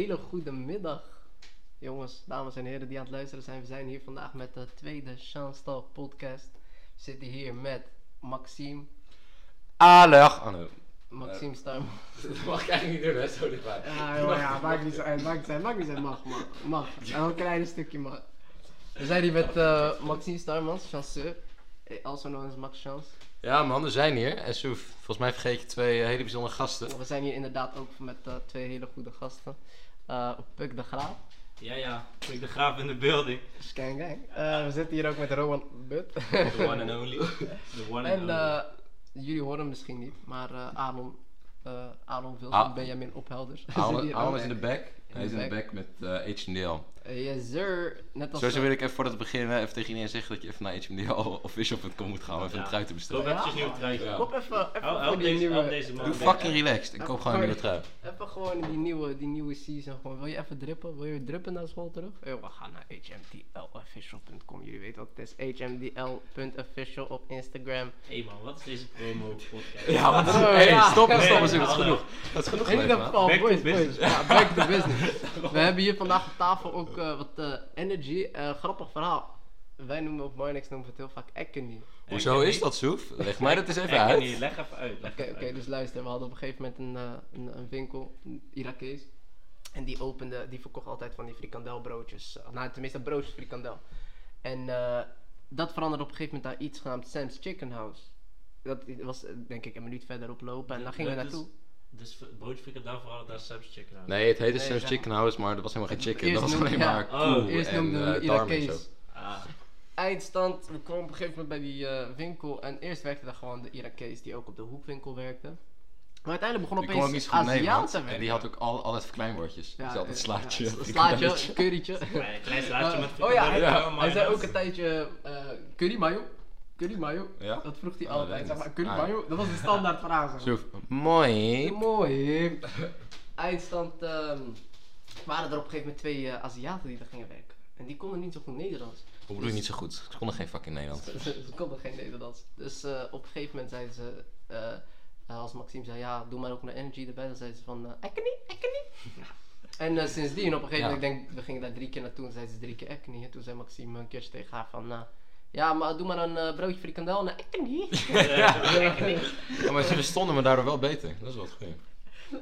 Hele goede middag, jongens, dames en heren die aan het luisteren zijn. We zijn hier vandaag met de tweede Chance Talk podcast. We zitten hier met Maxime, Alleg. Oh, nee. Maxime Starm. Dat mag ik eigenlijk niet doen, hè? Zo dichtbij. Ja, joh, ja, maakt niet zo uit, maakt niet uit, maakt niet uit, mag, mag, mag. Een klein stukje mag. We zijn hier met eh, Maxime Starmans, chanceur, eh, also known as Max Chance. Ja, man, we zijn hier. En Soef, volgens mij vergeet je twee eh, hele bijzondere gasten. We zijn hier inderdaad ook met eh, twee hele goede gasten. Eh Puk de Graaf, Ja, ja, ik de graaf in de building. Scan Gang. Eh, we zitten hier ook met Rowan But. The one and only. The one and En only. eh, jullie horen hem misschien niet, maar eh Aaron, eh Aaron Wilson, Ah. Benjamin Ophelders. Zit Alan hier Alan ook. is in de back. Hij is in de back. back met eh, HMDL. Eh, yes sir, net als... Sowieso eh, wil ik even voordat we beginnen even tegen iedereen zeggen dat je even naar hmdlofficial.com moet gaan om even een Ja. trui te Koop bestellen. Ja. eventjes nieuw truitje. Ja. Koop even, even, Hou- voor Help die deze, nieuwe, help deze man. Doe weg. fucking relaxed en koop gewoon een nieuwe trui. even gewoon die nieuwe, die nieuwe season. Gewoon. Wil je even drippen? Wil je drippen naar school terug? Eh, we gaan naar hmdlofficial.com. Jullie weten wat het is. hmdl.official op Instagram. Hé man, wat is deze promo podcast? Ja, want Oh, hey, ja. stop, stop, stop, dat Nee, is hallo. genoeg. Dat is genoeg In geweest, ieder man. geval, Back to boys, boys. business. Ja, back to business. We hebben hier vandaag op tafel ook eh, wat eh, energy. Eh, grappig verhaal. Wij noemen op Marnix noemen we het heel vaak Ekeny. Hoezo is dat, Soef? Leg mij dat eens Echt even uit. niet, leg even uit. Leg Oké, even oké, dus luister, we hadden op een gegeven moment een, eh, een, een winkel, een Irakees. En die opende, die verkocht altijd van die frikandelbroodjes. Eh, Nou, tenminste broodjes frikandel. En eh, dat veranderde op een gegeven moment naar iets genaamd Sam's Chicken House. Dat was eh, denk ik een minuut verderop lopen en daar gingen we Dat is- naartoe. Dus v- broodfrikken daar vooral, daar Sam's Chicken aan. Nee, het heette Nee, Sam's zeg Chicken House, maar dat was helemaal geen chicken. Eerst Dat was noemde- alleen ja. maar Oh, koe Eerst en noemden we hem eh, darm en zo. Irakees. Ah, eindstand, we kwamen op een gegeven moment bij die eh, winkel en eerst werkte daar gewoon de Irakees die ook op de hoekwinkel werkte. Maar uiteindelijk begon Die kon ook niet opeens zo goed Aziat Nederlands. te werken. En die had ook al, altijd verkleinwoordjes. Ja, dus altijd eh, slaatje. ja, slaatje, currytje. klein- klein slaatje met oh ja, hij, frikandellen, ja. mayonaise. hij zei ook een tijdje eh curry mayo, curry mayo. Ja? Dat vroeg hij Oh, altijd. Zeg dat is- maar, curry ah. mayo, dat was de standaard vraag. zeg maar. Zo, mooi. Mooi. Eindstand ehm, waren er op een gegeven moment twee eh, Aziaten die daar gingen werken. En die konden niet zo goed Nederlands. Hoe bedoel je niet zo goed? Ze konden geen fucking Nederlands. Ze, ze- ze konden geen Nederlands. Dus eh, op een gegeven moment zeiden ze, eh, eh, als Maxime zei, ja, doe maar ook een energy erbij, dan zeiden ze van, eh Ekeny, Ekeny. En eh, sindsdien, op een gegeven moment, ik denk, we gingen daar drie keer naartoe en zeiden ze drie keer Ekeny. En toen zei Maxime een keertje tegen haar van, nou, ja, maar doe maar een eh, broodje frikandel en Ekeny. Ja, maar ze verstonden me daardoor wel beter. Dat is wel goed.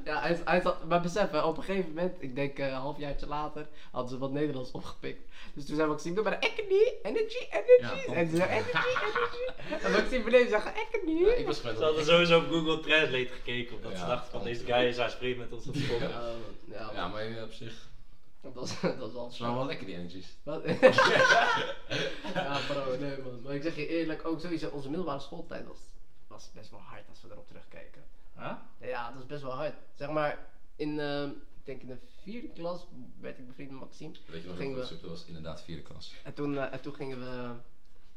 ja, hij, hij zat, maar besef, hè, op een gegeven moment, ik denk eh, een halfjaartje later, hadden ze wat Nederlands opgepikt. Dus toen zei Maxime, doe maar een Ekeny, energy, energy. Ja, en ze zei, energy, energy. en Maxime beneden zegt, Ekeny. Ik was Ze hadden sowieso op Google Translate gekeken, omdat Ja, ze dachten van dat- deze guy is hij spreekt met ons op school. Ja. Eh, ja, Ja, maar eh, op zich. Dat was, dat was wel Het waren wel lekker die energies. Wat? ja, bro, nee man. Maar ik zeg je eerlijk, ook sowieso onze middelbare schooltijd was, was best wel hard als we erop terugkijken. Huh? Ja, dat was best wel hard. Zeg maar, in, ehm, ik denk in de vierde klas werd ik bevriend met Maxime. Weet je nog Gingen heel we- goed, Soep? dat was inderdaad vierde klas. En toen, eh, en toen gingen we,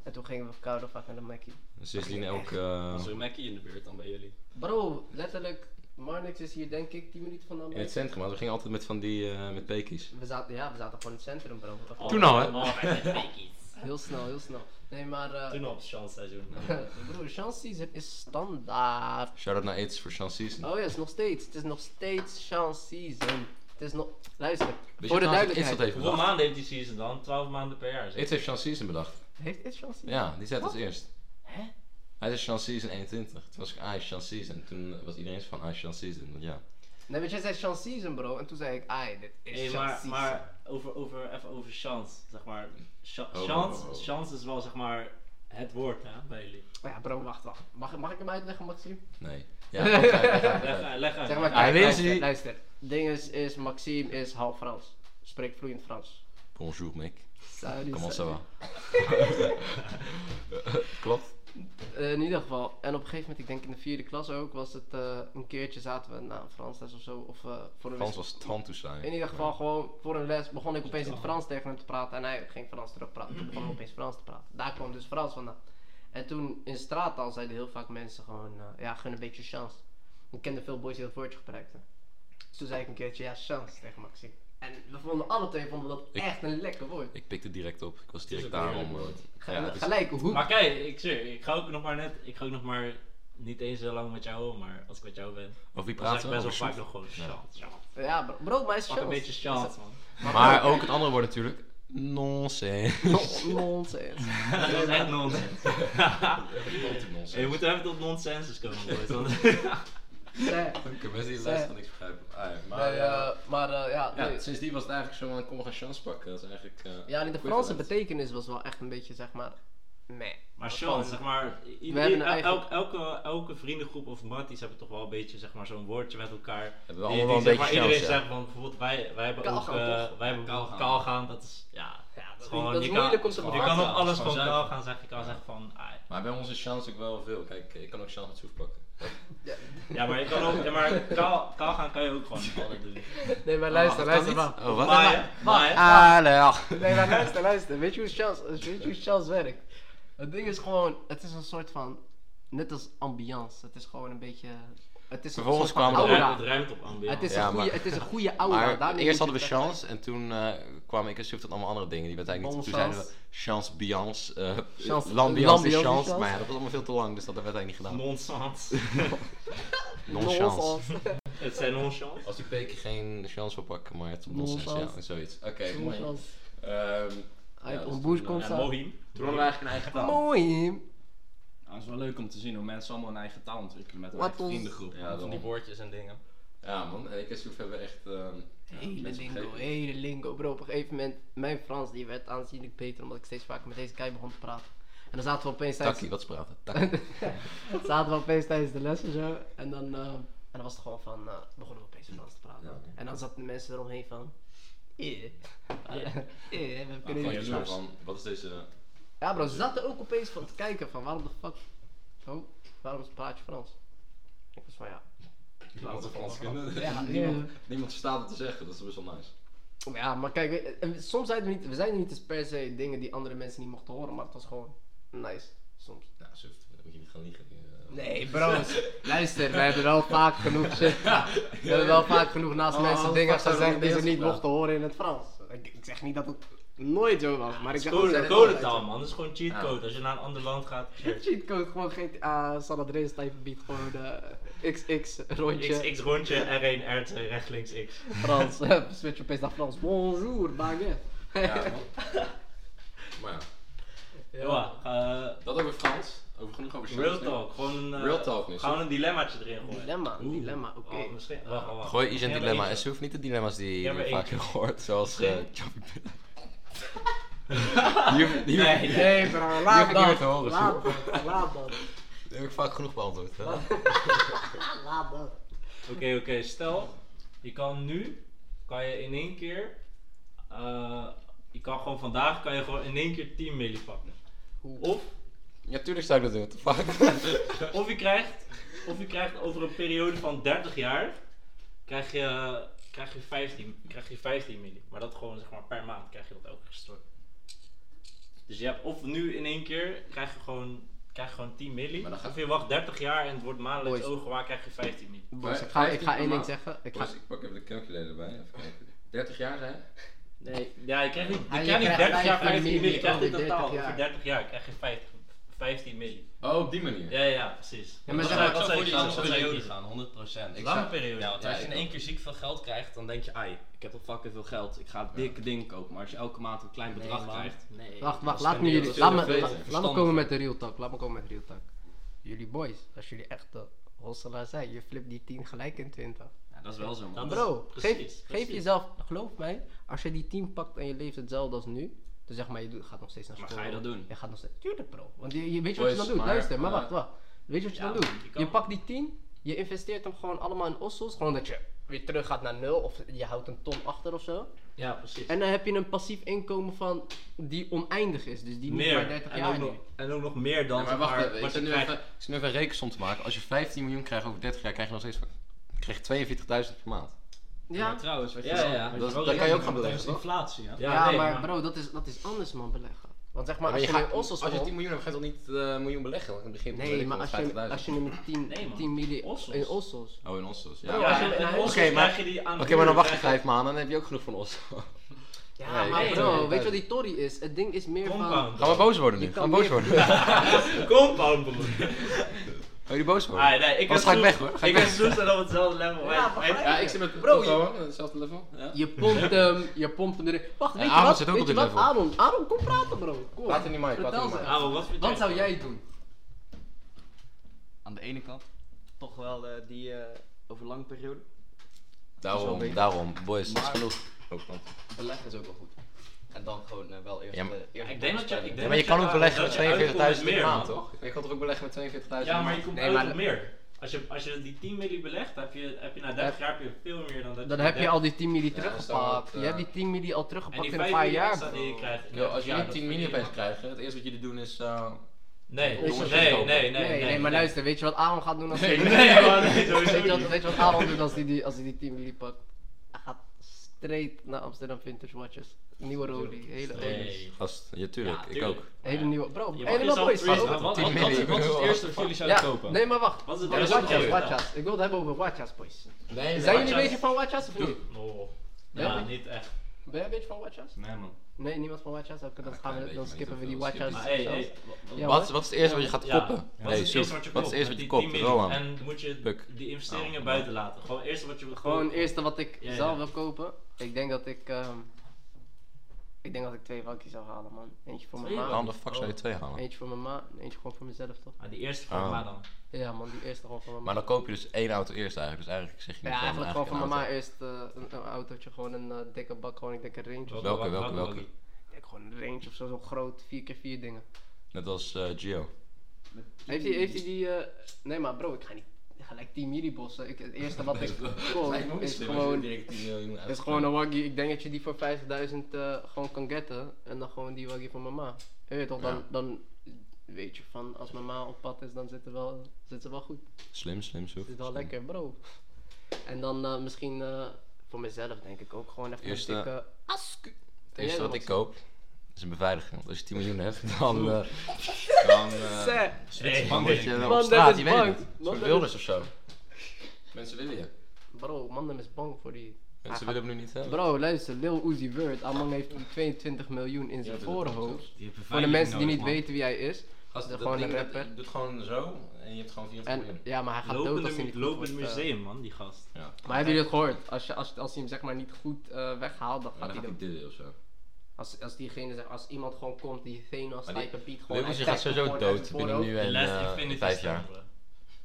en toen gingen we koude vaak naar de Mackie. Dus sindsdien ook... eh, Als er een Mackie in de buurt dan bij jullie. Bro, letterlijk, Marnix is hier denk ik 10 minuten vandaan. in het centrum, want we gingen altijd met van die... eh, met pekies. We zaten, ja, we zaten gewoon in het centrum, bro. Dat was Toen al, hè? Oh, hij zegt fakies. Heel snel, heel snel. Nee, maar, eh, Toen al op het chance seizoen. Broer, chances is standaard. Shout-out naar Aids voor Chance Season. Oh ja, is nog steeds. Het is nog steeds chance season. Het is nog. Luister, Weet je voor de trouwens dat Aids duidelijkheid. dat heeft Hoeveel bedacht? maanden heeft die season dan? 12 maanden per jaar. zeg. Aids heeft Chance Season bedacht. Heeft dit chance season? Ja, die zei het Oh. als eerst. Hij zei Chance Season 21. Toen was ik Ice Chance Season. Toen was iedereen zo van Ice Chance Season. Want ja. Nee, want jij zei chance season, bro. En toen zei ik, ai, dit is Hey, chance maar, season. maar over, over, even over chance, zeg maar. Cha- Oh, chance, oh, oh. chance is wel zeg maar het woord hè, bij jullie. Maar Oh ja, bro, wacht, wacht. Mag, mag ik hem uitleggen, Maxime? Nee. Ja, leg uit, leg uit, leg Leg, uit. uit, leg uit. Zeg maar, Ah, kijk, Lindsay. luister, luister. Ding is, is, Maxime is half Frans. Spreekt vloeiend Frans. Bonjour, Mick. Sorry, Kom op, sorry. zo. Klopt. Eh, in ieder geval, en op een gegeven moment, ik denk in de vierde klas ook, was het eh, een keertje zaten we na een Frans les of zo. Of eh, voor een Frans was tand zijn. In ieder geval gewoon voor een les begon ik opeens in het Frans tegen hem te praten en hij ging Frans terugpraten. Toen begon ik opeens Frans te praten. Daar kwam dus Frans vandaan. En toen in straattaal zeiden heel vaak mensen gewoon, eh, ja, gun een beetje chance. Ik kende veel boys die dat woordje gebruikten. Dus toen zei ik een keertje, ja, chance tegen Maxime. En we vonden alle twee vonden dat Ik- echt een lekker woord. Ik pikte direct op. Ik was direct Het is ook daarom. heerlijk, eh, Ge- ja, het is- Gelijk, hoe? Maar kijk, ik, zweer, ik ga ook nog maar net, ik ga ook nog maar niet eens zo lang met jou, maar als ik met jou ben, Of wie dan zeg praat ik er best over? wel vaak Sjoerd? nog gewoon chance. chance. Ja, bro, bro maar is Pak een chance. beetje chance, man. Maar ook het andere woord natuurlijk. Nonsense. Non- Nonsens. Dat is echt nonsens. nonsens. je moet even tot nonsensus komen, boys. Want... Nee. Oké, mensen die luisteren niks begrijpen. Maar, eh, maar eh, ja, Ja, nee. sindsdien was het eigenlijk zo van, kom we gaan chance pakken. Dat is eigenlijk... eh, Ja, die de quick Franse event. betekenis was wel echt een beetje, zeg maar, meh. Maar Dat Sean, gewoon- zeg maar, i- We hebben i- een eigen- elk- elke, elke vriendengroep of matties hebben toch wel een beetje zeg maar, zo'n woordje met elkaar. Hebben we allemaal wel een zeg beetje maar, Iedereen chance, ja. zegt van bijvoorbeeld wij, wij hebben ook Kaalgaan, eh, toch? wij hebben Ja, kaalgaan. bijvoorbeeld kaalgaan, dat is ja, Ja, dat dat, is dat gewoon- je is kan- moeilijk om te je je Kaalgaan, bevatten. kan ook dat is alles gewoon gewoon zuiver. kaalgaan zeggen, je kan zeggen van ai. Maar bij ons is chance natuurlijk wel veel. Kijk, eh, ik kan ook chance met soef pakken. Ja, maar je kan ook, ja, maar kaal, kaalgaan kan je ook gewoon altijd doen. Nee, maar luister, luister, maar. nou, Oh, wat? Ah, nou Maaien, maaien. Hallo. Nee, maar luister, luister. Weet je hoe Charles, weet je hoe Charles werkt? Het ding is gewoon, het is een soort van, net als ambiance. Het is gewoon een beetje, het is een Vervolgens soort van kwamen we- Het aura. ruimt- het ruimt op ambiance. Het is, Ja, een goede, maar- het is een goede aura. Maar daarmee eerst moet je hadden we het echt- chance en toen eh, kwamen ik en Suf tot allemaal andere dingen. Die werd eigenlijk niet. Toen zeiden Bonchance. we chance, biance, eh, Chance- lambiance lambiance, en chance. chance. Maar ja, dat was allemaal veel te lang, dus dat werd eigenlijk niet gedaan. Nonsens. Non-chance. het zijn nonchants. Als die peker geen chance wil pakken, maar het is Nonsense. nonsens, ja, zoiets. Oké, mooi. Nonchance. Ehm, Uit dat ons is boers toen, komt eh, Ja, zo. Mohim. Toen hadden we eigenlijk een eigen taal. Mooi. Nou, het is wel leuk om te zien hoe mensen allemaal een eigen taal ontwikkelen met een Wat eigen ons- vriendengroep. Ja, Ja, van daarom. die woordjes en dingen. Ja man, en ik en Soef hebben echt... ehm, ja, Hele mensen lingo, vergeten. hele lingo. Bro, op een gegeven moment, mijn Frans die werd aanzienlijk beter omdat ik steeds vaker met deze guy begon te praten. En dan zaten we opeens tijdens, Takkie, wat is praten? Takkie. zaten we opeens tijdens de lessen zo. En dan, eh, en dan was het gewoon van, eh, begonnen we opeens Frans te praten. Ja. En dan zaten de mensen eromheen van, eh, eh, we kunnen Gewoon niet. jaloers Ah, van, wat is deze... Ja bro, ze zaten ook opeens van te kijken van, waarom de fuck, oh, waarom praat je Frans? Ik was van, ja. Laten we Frans kunnen. Ja, niemand, niemand verstaat het te zeggen, dat is best wel nice. Ja, maar kijk, weet- en soms zijn we niet, we zijn niet eens per se dingen die andere mensen niet mochten horen, maar het was gewoon nice, soms. Nou, Suf, dan moet je niet gaan liegen. eh. Nee, bro's, luister, wij hebben wel vaak genoeg shit. We hebben wel vaak genoeg naast Oh, mensen fuck, dingen zijn we gezegd nog die ze bezig niet vandaag. mochten horen in het Frans. Ik, ik zeg niet dat het nooit zo was, maar ik zeg dat Code, zij het altijd eh, codetaal man, dat is gewoon cheat Ja. code. Als je naar een ander land gaat, zo- Cheatcode, gewoon eh, GTA, San Andreas type beat, gewoon eh, XX rondje XX rondje, R1, R2, rechts, links, X. Frans. eh, Switch opeens naar Frans. Bonjour, baguette. eh. Ja, man. maar ja, Ja, eh, dat over Frans. Over genoeg over Frans. real talk. Gewoon een, eh, Real talk nu, Gewoon een dilemmaatje erin gooien. Dilemma, dilemma, oké. Oh, misschien. Wacht, wacht, wacht. Gooi eens een Misschien dilemma. En hebben ze hoeft niet de dilemma's die Ja, maar je één. vaak hebt gehoord, zoals eh Misschien. Chubby Pit. we Die hoef- die hoef- Nee, nee. Nee, bro, heb laat ik niet meer dat. te horen, Laat dat, laat dat. die heb ik vaak genoeg beantwoord. hè. Laat dat. Oké, oké. Stel, je kan nu, kan je in één keer, eh, je kan gewoon vandaag, kan je gewoon in één keer 10 milli pakken. Of, Ja, tuurlijk zou ik dat doen. What the fuck? of, je krijgt, of je krijgt over een periode van 30 jaar, krijg je, krijg je, 15, krijg je 15 milli. Maar dat gewoon zeg maar per maand krijg je dat elke keer gestort. Dus je hebt of nu in één keer, krijg je gewoon, krijg je gewoon 10 milli. Maar dan ga- Of je wacht 30 jaar en het wordt maandelijks Boys. ooggewaar, krijg je 15 milli. Boys, Maar ik ga, ik 15 ga één per ding maand. zeggen. Ik ga, Boys, ik pak even de calculator erbij. Even kijken. 30 jaar zijn? nee, Ja, je krijgt niet, je Ah, je krijgt niet krijgt 30 jaar 15 15 miljoen, je miljoen, krijgt in over 30 totaal jaar. over 30 jaar krijg je 50, 15 miljoen. Oh, op die manier. Ja, ja, ja, precies. Ja, maar Wat zeg zou- maar, wat ik zou voor zou je kiezen? die lange Wat zou je periode kiezen? gaan, 100%. Ik Lange zou- periode. Ja, want als je in Ja, één keer ziek veel geld krijgt, dan denk je, ai, ik heb al fucking veel geld. Ik ga dikke dingen kopen. Maar als je elke maand een klein bedrag man. krijgt... Nee. wacht, wacht, dat laat me is jullie, niet laat me, heel laat- veel beter. laat me Verstandig. komen met de real talk, laat me komen met real talk. Jullie boys, als jullie echt de hosselaar zijn, je flipt die 10 gelijk in 20. Ja, dat is wel zo, Dat man. is- Bro, geef, precies, geef precies. jezelf, geloof mij, als je die 10 pakt en je leeft hetzelfde als nu, dan zeg maar, je doet, gaat nog steeds naar Maar school. ga je dat doen? Je gaat nog steeds, tuurlijk bro, want je, je weet je wat je Boys, dan doet, maar, luister, maar eh, wacht, wacht. Weet je wat je ja, dan doet? je Je, kan- pakt die 10, je investeert hem gewoon allemaal in ossels, gewoon dat je weer terug gaat naar 0 of je houdt een ton achter of zo. Ja, precies. En dan heb je een passief inkomen van die oneindig is, dus die niet maar meer. 30 En jaar ook, nog, duurt. en ook nog meer dan. Ja, maar wacht zeg even, ik wat je zit, nu krijgt. even, ik zit nu even een rekensom te maken. Als je 15 miljoen krijgt over 30 jaar, krijg je nog steeds... van- Krijg je 42.000 per maand. Ja, Maar trouwens, wat je Ja, wel- ja, ja. wat Dat, wel dat kan je ook rekening gaan Dat is beleggen, toch? inflatie, ja. ja, nee, maar bro, dat is, dat is anders man beleggen. Want zeg maar, als je, in ossels als je komt- 10 miljoen hebt, ga je toch niet eh, een miljoen beleggen? Want dan begin je Nee, beleggen maar met als je, 50.000. als je nu met 10, Nee, man. 10 milli Ossels. in ossels. Oh, in Oslo's, ja. Bro, Ja, als je Ja, een ja, Oslo oké, maar- krijg je die aan Oké, maar dan wacht je krijg vijf maanden en dan heb je ook genoeg van Oslo. Ja, Nee, maar nee, bro, nee, weet je nee. wat die Tory is? Het ding is meer van... Compound. Gaan we boos worden Je nu? kan Gaan we boos meer- worden? Compound, broer. Oh, die boos worden? Ah, nee, ik Anders ga en ik Soes- weg, hoor. Ga ik Ik en weg. Soes zijn op hetzelfde level. Wij- Ja, wij- begrijp Ja, ik zit met Bro, Bro, je- hetzelfde level. Ja. Je pompt hem, je pompt hem erin. Wacht, weet je Aaron wat? zit ook weet op je dit wat? level. Aaron, Aaron, kom praten bro. Kom. Praat in die mic, praat in Vertel die ze. mic. Aaron, wat vind Wat zou jij doen? Aan de ene kant toch wel eh, die eh, over lange periode. Daarom, Zo'n beetje. daarom. Boys, dat is Maar- genoeg. Ook want- Beleggen is ook wel goed. En dan gewoon eh, wel eerst. Ja, maar- eh, eerst Ik denk dat je- ik spelen. denk- Ja, maar je kan ook beleggen met Dat je uitkomt met 42.000 meer, per maand, man. toch? Je kan toch ook beleggen met 42.000 per Ja, maar je maand? komt Nee, uit maar op dat- meer. Als je, als je die 10 miljoen belegt, heb je, heb je na 30 jaar heb je veel meer dan dat Dan heb je al die 10 milli Ja, teruggepakt. stel dat, Je hebt eh, die 10 milli al en teruggepakt die in een 5 paar miljoen jaar. extra die je krijgt. in Yo, elk als jaar, jullie dat 10 miljoen verdien je opeens maar- krijgen, het eerste wat jullie doen is... eh, Nee, Jongens, nee, je moet nee, kopen. nee, nee. Nee, nee, maar luister, weet je wat Aaron gaat doen als hij... Nee, nee, man, nee, sowieso Weet je wat- niet. weet je wat Aaron doet als hij die, als hij die 10 milli pakt? Hij gaat straight naar Amsterdam Vintage Watches. Nieuwe Rolex, hele Rolex. Nee. Gast, ja, tuurlijk. Ja, ik tuurlijk. ook. Hele nieuwe, bro, Je mag helemaal jezelf boys. freezen. Ook- Wat- wat- Tien wat- miljoen, ik wat- wil wat- wel- Eerste voor jullie zouden kopen. nee, maar wacht. Wat is het Wat- recept? Watchas, Ja. watchas. Ik wil het hebben over watchas, boys. Nee, Zijn jullie een Watchas. beetje van watchas of niet? Oh. Ja, Ja, maar- niet echt. Ben jij een beetje van watchas? Nee man. Nee, niemand van watchas? Oké, dan, Ja, gaan klein we, beetje, dan maar skippen we niet die heel veel. watchas. Maar hey, hey, zelfs. wat- wat- Ja, Wat, hoor. wat is het eerste wat je gaat Ja, koppen? Wat is het eerste wat je Wat is het eerste wat je met die koopt? 10 miljoen? Roland. En moet je Puk. die investeringen Oh, buiten laten. Gewoon het eerste wat je wil Gewoon het kopen. eerste wat ik Ja, ja. zelf wil kopen. Ik denk dat ik. ehm, ik denk dat ik twee vakjes zou halen, man. Eentje voor mijn Twee ma. Oh. Waarom de fuck zou je twee halen? Eentje voor mijn ma en eentje gewoon voor mezelf, toch? Ah, die eerste Ah. van maar dan. Ja, man, die eerste gewoon voor mijn ma. Maar dan koop je dus één auto eerst eigenlijk. Dus eigenlijk zeg je niet ja, van, eigenlijk gewoon voor mijn een ma auto. eerst eh, een, een autootje, gewoon een eh, dikke bak, gewoon ik denk een range. of zo. Welke, welke, Welke, welke? Ik denk gewoon een range of zo, zo'n groot 4x4 dingen. Net als eh, Gio. Heeft hij heeft hij die. eh, nee, maar bro, ik ga niet gelijk 10 millibossen. Ik, het eerste wat ik koop is gewoon. eh, Het is gewoon een waggy. Ik denk dat je die voor 50.000 eh, gewoon kan getten. En dan gewoon die waggy van mama. Je weet toch, dan, Ja. dan weet je van als mama op pad is, dan zit, er wel, zit ze wel goed. Slim, slim, zo. Het is wel lekker, bro. En dan eh, misschien eh, voor mezelf denk ik ook gewoon even Eerste- een dikke asku. Het Ken jij eerste nog wat ik wat? koop is een beveiliging. Want als je 10 miljoen hebt, dan... eh, dan eh, Zeg, Nee, dan word je Man, op dat straat, is je weet bang. het niet. Een Man, soort dat wilders of zo. Mensen willen je. Bro, Mandem is bang voor die. Hij Mensen willen hem nu niet hebben. Bro, luister, Lil Uzi Word. Amang heeft die 22 miljoen in zijn voorhoofd. Voor de mensen die niet weten wie hij is. Gast, Dat dat gewoon ding, een dat- rapper. je doet gewoon zo en je hebt gewoon 24 En miljoen. ja, maar hij gaat dood als hij niet Lopende, goed lopend wordt, eh, museum, man, die gast. Ja. Maar hebben jullie het gehoord? Als, je, als, als hij hem zeg maar niet goed eh, weghaalt, dan Maar gaat dan hij gaat hij dood. dit of zo. Als, als diegene zeg, als iemand gewoon komt die Thanos Maar die- type beat gewoon. Leukens, hij je gaat trekt hem sowieso gewoon uit dood zijn binnen voorhoofd. nu en Last eh, Infinity vijf Stone, jaar. bro.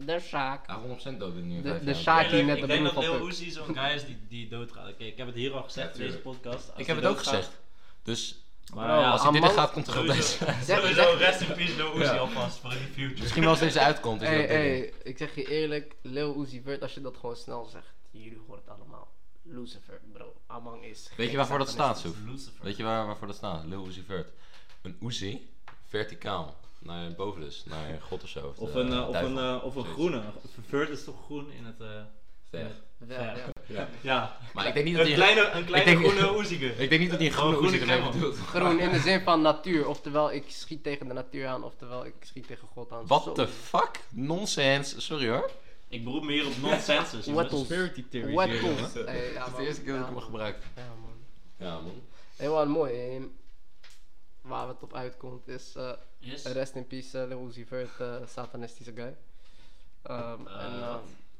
De zaak. Ja, 100% dood binnen nu en De- vijf de jaar. zaak- Haat die net Eerlijk, op Ik denk de dat roep op Lil Puk. Uzi zo'n guy is die, die doodgaat. Oké, ik heb het hier al gezegd in deze tuurlijk. podcast. Als Ik heb het die ook doodgaat- gezegd. Dus Maar Bro, ja, als hij dit Amman- gaat, komt er ook Sowieso. deze. Zeg- Sowieso, zeg- rest in peace Lil Uzi Ja. alvast voor in de future. Misschien wel als deze uitkomt. is Hey, dat ding. hey, ik zeg je eerlijk, Lil Uzi Vert, als je dat gewoon snel zegt, jullie horen het allemaal. Lucifer, bro. Amang is. Weet gek je waarvoor dat staat, satanistisch. Soef? Lucifer. Weet je waar, waarvoor dat staat? Lil Uzi Vert. Een Uzi, verticaal. Naar boven dus, naar God of zo. Of de een, eh, of duivel. een, eh, of een Zoiets. groene. Een Vert is toch groen in het... eh, Ver. Wel, Ja. ja. Ja. Maar ik denk niet dat Een hij... kleine, een kleine denk- groene Oeziger. Ik denk niet dat hij een Gewoon groene Uzi groene ermee camel. bedoelt. Groen in de zin van natuur. Oftewel, ik schiet tegen de natuur aan, oftewel, ik schiet tegen God aan. What the fuck? Nonsense. Sorry hoor. Ik beroep me hier op nonsensus. jongens. Wattles. Conspiracy theories. hier, jongen. Wattles. Hey, ja, Dat is de man. eerste keer dat Ja, ik hem man. gebruik. Ja, man. Ja man. Helemaal mooi. eh, waar het op uitkomt is eh, Yes. Rest in Peace uh, Lil Uzi Vert, eh, satanistische guy. Ehm, Eh, en, ehm,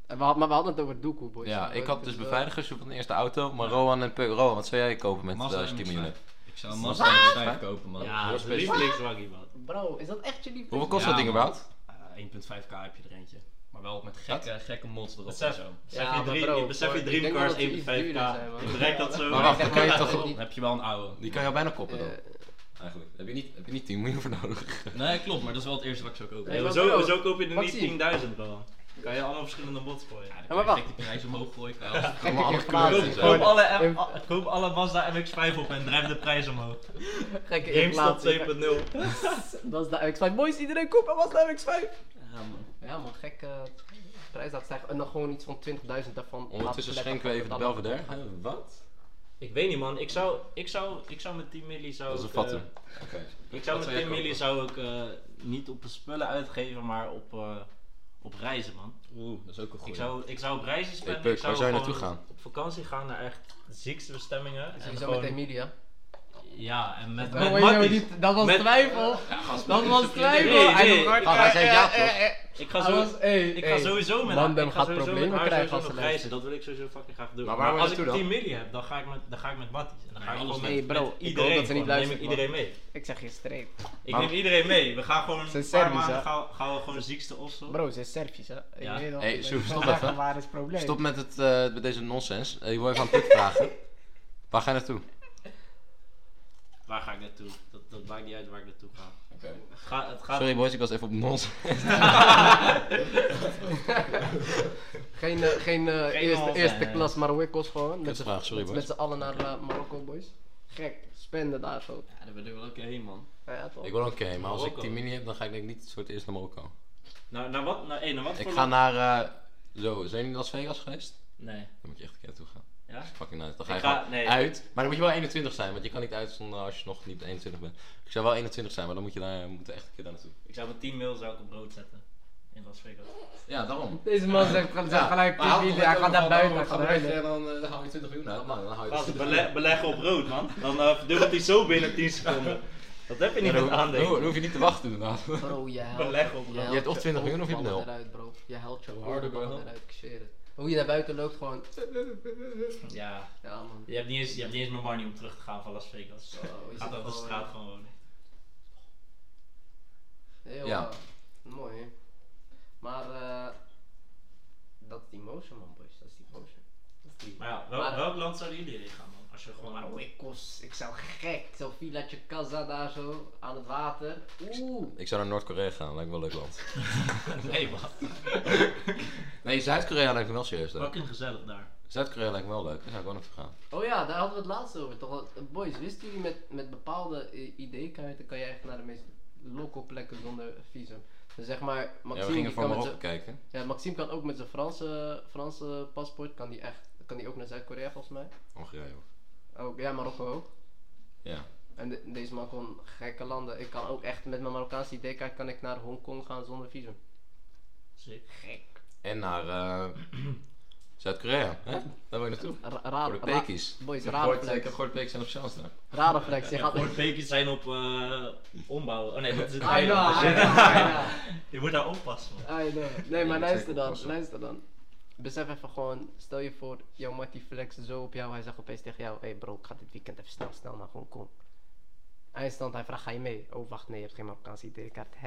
en we had, maar we hadden het over Doekoe, boys. Ja, ik had dus eh, beveiligers van de eerste auto, maar Rowan en Puk. Rowan, wat zou jij kopen met Mazda eh, als je 10 miljoen MX-5. hebt? Ik zou een Mazda 5 kopen, man. Ja, dat is specifiek. lievelingswaggie, man. Bro, is dat echt je liefde? Hoeveel kost Ja, dat ding man. überhaupt? Eh, 1.5k heb je er eentje. Maar wel met gekke, gekke mods erop en Besef, zo. besef Ja, je maar dream, bro, besef voor- je ik denk dreamcars wel dat ze iets 1.5k. duurder zijn, man. Je bereikt dat zo. Maar wacht, dan kan je Ja, toch... ja. Dan heb je wel een oude. Die kan je al bijna koppen dan, Eh, eigenlijk. Heb je niet, heb je niet 10 miljoen voor nodig? Nee, klopt, maar dat is wel het eerste wat ik zou kopen. Nee, Ja, maar zo, bro, zo koop je er Maxime. niet 10.000 bro. Dan kan je allemaal verschillende bots gooien. Ja, dan Ja, kan maar je wacht. gek die prijs omhoog gooien. kan je alles- Gekke Allemaal andere inflatie. kleuren. Koop, koop, alle, Ehm, M- a- koop alle Mazda MX-5 op en drijf de prijs omhoog. Gekke GameStop inflatie. 2.0. Dat is de MX5. Boys, iedereen koop en was de MX5. Ja, man. Ja man, gekke prijs laten stijgen. En dan gewoon iets van 20.000 daarvan. Ondertussen laten schenken we even de vertellen. Belvedere. Hè, Wat? Ik weet niet man, ik zou, ik zou, ik zou met 10 milli zou Dat is een ik, fatum. eh, Oké. Ik zou Wat met zou jij 10 milli kopen? zou ik eh, niet op de spullen uitgeven, maar op, eh, op reizen man. Oeh, dat is ook een Ik goede. zou, ik zou op reizen spenden. Puk, ik zou waar zou je gewoon naartoe gaan? Op vakantie gaan naar echt ziekste bestemmingen. En Sowieso gewoon- met Emilia. Ja, en met, Oh, met weet je nou Matties. niet, dat was Met- twijfel. dat was twijfel. Nee, Hij nee. doet hard- Gast, hij zei ja, eh, eh, eh, Ik ga, Hij zo, was- hey, ik hey. ga sowieso met Mandem ik ga gaat sowieso problemen met haar krijgen sowieso als nog ze reizen. Dat wil ik sowieso fucking graag doen. Maar waar wil je als ik naartoe 10 milli heb, dan ga ik met, dan ga ik met Matties. En dan ga ik anders gewoon nee, met, bro, met ik hoop iedereen. dat ze niet gewoon. Dan neem ik luistert, iedereen mee. Ik zeg je streep. Ik Maar- neem iedereen mee. We gaan gewoon Ze een zijn paar dus, maanden hè? gaan, gaan we gewoon ziekste of zo. Bro, ze is Servisch, hè? Ik Ja. weet al. Hey, ik Soef, ben stop vandaag even. een Waar is het probleem? Stop met, het, eh, met deze nonsens. Eh, je wil even aan Puk vragen. Waar ga je naartoe? Waar ga ik naartoe? Dat, dat maakt niet uit waar ik naartoe ga. Oké. Het gaat, het gaat Sorry boys, ik was even op nonsens. Geen, eh, geen, eh, eerste, nonsens. eerste klas Marokko's gewoon. Met, Kutvraag, sorry met, boys. met z'n allen naar eh, Marokko, boys. Gek. Spenden daar zo. Ja, daar ben ik wel oké heen, man. Ja, ja, toch. Ik wil oké, maar als ik Marokko. 10 mini heb, dan ga ik denk ik niet voor het eerst naar Marokko. Nou, naar wat, naar, hey, naar wat Ik voor ga land? naar... eh, zo, zijn jullie in Las Vegas geweest? Nee. Dan moet je echt een keer naartoe gaan. Ja? Dat is fucking nice. Dan ga je Ik ga- gewoon nee. uit. Maar dan moet je wel 21 zijn, want je kan niet uit zonder als je nog niet 21 bent. Ik zou wel 21 zijn, maar dan moet je daar, moet er echt een keer daar naartoe. Ik zou met 10 mil zou ik op brood zetten. In Las Vegas. Ja, daarom. Deze man zegt gel- zegt gelijk pipi, hij gaat naar buiten. Gaat naar buiten. dan, hou je 20 miljoen uit. Nou, dan hou Gast, bele- beleggen op rood, man. Dan eh, verdubbelt hij zo binnen 10 seconden. Dat heb je niet met dan, aandelen. hoef je niet te wachten inderdaad. Bro, je helpt. Beleggen op je rood. helpt Je hebt of 20 miljoen of je hebt oorlogballen nul. eruit, bro. Je helpt je Harder oorlogballen wel. eruit, ik zweer het. Hoe je naar buiten loopt, gewoon. Ja, Ja, man. je hebt, niet eens, je hebt niet eens meer money om terug te gaan van Las Vegas. Zo, is Gaat het op de gewoon- straat gewoon wonen. Heel Ja. ja. mooi. hè. Maar eh dat is die motion man boys, dat is die motion. Dat is die... Maar ja, wel, Maar- welk land zouden jullie heen gaan, man? Als je gewoon maar... Oh, ik kost, ik zou gek, zo'n villaatje Casa daar zo, aan het water. Oeh. Ik zou naar Noord-Korea gaan, lijkt me wel een leuk land. Nee, man. Nee, Zuid-Korea lijkt me wel serieus leuk. Fucking gezellig daar. Zuid-Korea lijkt me wel leuk, daar zou ik wel naartoe gaan. Oh ja, daar hadden we het laatst over toch? Want, eh, Boys, wisten jullie met, met bepaalde eh, ID-kaarten kan je echt naar de meest loco plekken zonder visum. Dus zeg maar, Ja, we Maxime, gingen die voor kan, met Marokko zijn, kijken. ja, Maxime kan ook met zijn Franse, Franse paspoort, kan die echt, kan die ook naar Zuid-Korea volgens mij. Hongarije ook. Ook, ja, Marokko ook. Ja. En de- deze man kon gekke landen. Ik kan ook echt met mijn Marokkaanse ID-kaart kan ik naar Hongkong gaan zonder visum. Sick. Gek. En naar eh, Zuid-Korea, hè? Daar wil je naartoe. Ra Voor raar, de ra pekies. boys, Ik heb rare gehoord- Ik flex. heb gehoord pekies zijn op chance daar. Rare flex. Je gaat Voor beekjes zijn op eh, ombouwen. Oh nee, dat is het I know, eiland. I know, Je moet daar oppassen, man. I know, I know. Nee, maar Ja, luister dan, zeker. luister dan. Besef even gewoon, stel je voor, jouw mattie flex zo op jou. Hij zegt opeens tegen jou, hey bro, ik ga dit weekend even snel, snel naar Hongkong. Eindstand, hij vraagt, ga je mee? Oh, wacht, nee, je hebt geen Marokkaanse ID-kaart.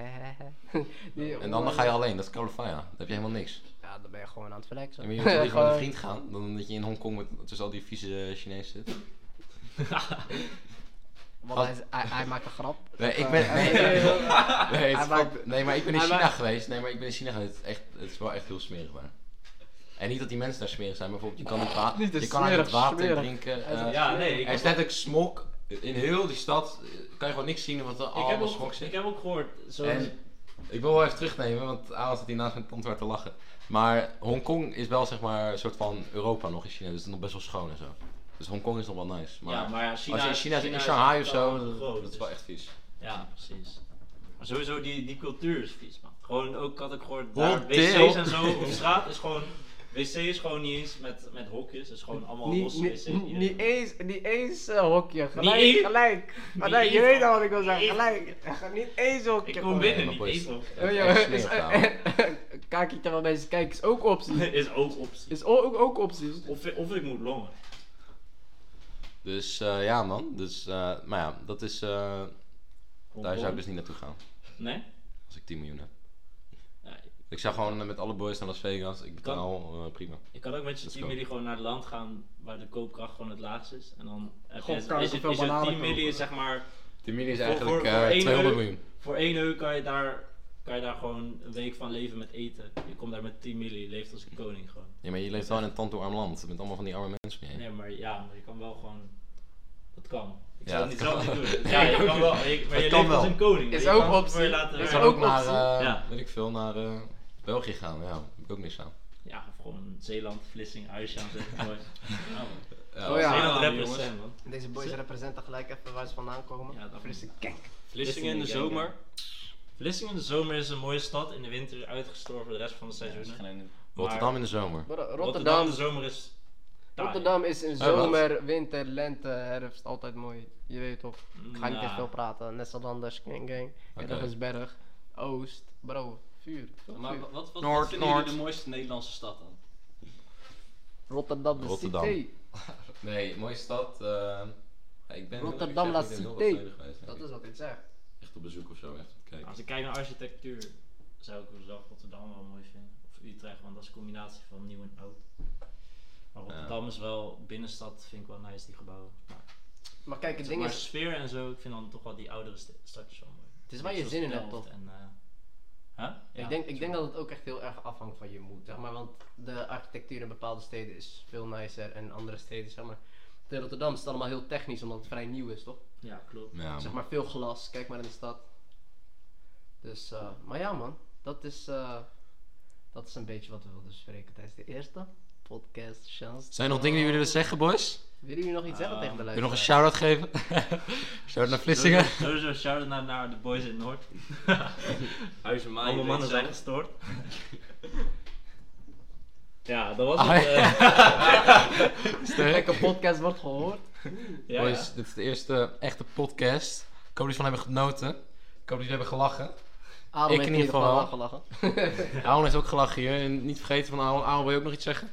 En dan, dan ga je alleen, dat is Calafia. Dan heb je helemaal niks. Ja, dan ben je gewoon aan het flexen. En je moet liever met een Gewoon- vriend gaan, dan dat je in Hongkong met, tussen al die vieze eh, Chinezen zit. Want hij, hij, hij maakt een grap. Nee, ik ben. Nee, nee, het is Hij maakt- fuck- nee, maar ik ben in hij China maakt- geweest. Nee, maar ik ben in China geweest. Het is, echt, het is wel echt heel smerig daar. En niet dat die mensen daar smerig zijn, maar bijvoorbeeld je kan het, wa- Niet, het je is kan uit het smerig, water smerig. drinken. Hij is eh, echt Ja, smerig. nee. Ik, er is letterlijk smok in heel die stad. eh, Kan je gewoon niks zien wat er ik, heb, allemaal ook, smok ik zit. heb ook gehoord, zo En ik wil wel even terugnemen, want Aaron zat hiernaast met tandwaard te lachen. Maar Hongkong is wel zeg maar een soort van Europa nog in China, dus het is nog best wel schoon en zo. Dus Hongkong is nog wel nice. Maar, ja, maar ja, China, als je in China, in is Shanghai of echt zo, wel dat- groot, dat is dus- wel echt vies. Ja, precies. Maar sowieso, die, die cultuur is vies, man. Gewoon ook, had ik gehoord, Hot daar, deel. wc's en zo op straat is gewoon... Wc is gewoon niet eens met, met hokjes, het is gewoon allemaal Niet, losse niet, wc's. iedereen. niet eens, niet eens eh, hokje, gelijk, eens? gelijk. Maar Niet nee, je eens, weet al man. wat ik wil zeggen, Niet gelijk. Niet eens hokje. Ik kom gewoon. binnen, maar niet boys. eens hok. Oh, Het ja, is echt is, smerig daar. kaakje terwijl mensen kijken is ook optie. is ook optie. Is ook, ook optie. Of, of ik moet longen. Dus eh, ja man, dus, eh, maar ja, dat is, eh, daar zou ik dus niet naartoe gaan. Nee? Als ik 10 miljoen heb. Ja, Ik zou gewoon eh, met alle boys naar Las Vegas, ik Kan. betaal eh, prima. Je kan ook met je Let's 10 go. milli gewoon naar het land gaan waar de koopkracht gewoon het laagst is. En dan heb je Gewoon het, kan ik is, het, veel is het bananen 10 milli kopen. is zeg maar... 10 miljoen is Voor- eigenlijk voor- eh, voor één 200 euro. miljoen. Voor 1 euro kan je daar, kan je daar gewoon een week van leven met eten. Je komt daar met 10 milli, je leeft als een koning gewoon. Ja, maar je leeft wel in een tantoe-arm land, met allemaal van die arme mensen om je heen. Nee, maar ja, maar je kan wel gewoon. Dat kan. Ik Ja, zou het dat niet zelf kan. niet doen. Ja, je kan wel. Je, maar Dat je kan leeft als wel. een koning. Is je ook kan het optie. voor je laten Is Ik Ja, zou werken. ook ook naar, eh, Ja. weet ik veel, naar eh, België gaan. Ja, daar heb ik ook niks aan. Ja, of gewoon Zeeland, Vlissingen, Huisje aan zetten. mooi. Ja, man. Ja, Oh ja. Zeeland Ja, rappers jongens. zijn, man. Deze boys representen gelijk even waar ze vandaan komen. Ja, dat- Frisse kek. Vlissingen in de zomer. Vlissingen in de zomer is een mooie stad. In de winter uitgestorven de rest van de Ja, dat is seizoenen. geen ene- Rotterdam in de zomer. Bro, Rotterdam, Rotterdam in de zomer is Taai. Rotterdam is in Hey, wat? zomer, winter, lente, herfst altijd mooi. Je weet toch. Ik ga niet Ja. echt veel praten. Nederlanders, gang gang. Oké. Berg, Oost, bro, vuur. veel Maar vuur. wat, wat, wat Noord, vinden jullie Noord. de mooiste Nederlandse stad dan? Rotterdam, de Rotterdam. city. Nee, mooie stad. eh, ja, ik ben Rotterdam ik La zeg niet in Cité. Hilversum geweest, Dat denk ik. is wat ik zeg. Echt op bezoek of zo, echt om te kijken. Als ik kijk naar architectuur, zou ik zelf Rotterdam wel mooi vinden. Of Utrecht, want dat is een combinatie van nieuw en oud. Maar Rotterdam is wel binnenstad, vind ik wel nice, die gebouwen. Maar, Maar kijk, het zeg ding maar is, sfeer en zo, ik vind dan toch wel die oudere st- stadjes wel mooi. het is waar je zin in hebt toch? En, eh, huh? Ja, ik, denk, ik denk tuurlijk. dat het ook echt heel erg afhangt van je moed, zeg maar. Want de architectuur in bepaalde steden is veel nicer en andere steden, zeg maar. De Rotterdam is het allemaal heel technisch, omdat het vrij nieuw is, toch? Ja, klopt. Ja, Zeg man. maar veel glas, kijk maar in de stad. Dus, eh, maar ja man, dat is, eh, dat is een beetje wat we wilden bespreken tijdens de eerste podcast. Chance. Zijn er nog dingen die jullie willen zeggen, boys? Willen jullie nog iets zeggen Ehm, tegen de Wil je luisteraar? nog een shout-out geven? shout-out naar Vlissingen. Sowieso- Sowieso shout-out naar, naar de boys in Noord. Ah, Huizen Maaien. Allemaal mannen zijn gestoord. ja, dat was Ah, het. eh. Sterk. Gekke podcast wordt gehoord. ja, ja. Boys, dit is de eerste echte podcast. Ik hoop dat jullie van hebben genoten. Ik hoop dat jullie hebben gelachen. Adam Ik heeft in ieder geval wel. gelachen. Aaron heeft ook gelachen hier. En niet vergeten van Aaron. Aaron, wil je ook nog iets zeggen?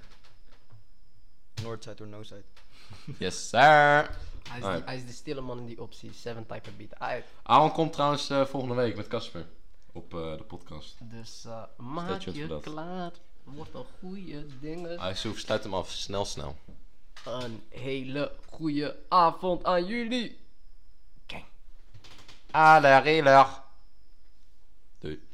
Noordside or no side. Yes, sir. Hij is, Oh ja. die, hij is de stille man in die optie. Seven type of beat. Uit. Aaron komt trouwens eh, volgende week met Casper op eh, de podcast. Dus eh, maak tuned je voor dat. klaar. Wordt een goede dingen. Hij hoeft sluit hem af. Snel, snel. Een hele goede avond aan jullie. Aller, Doei.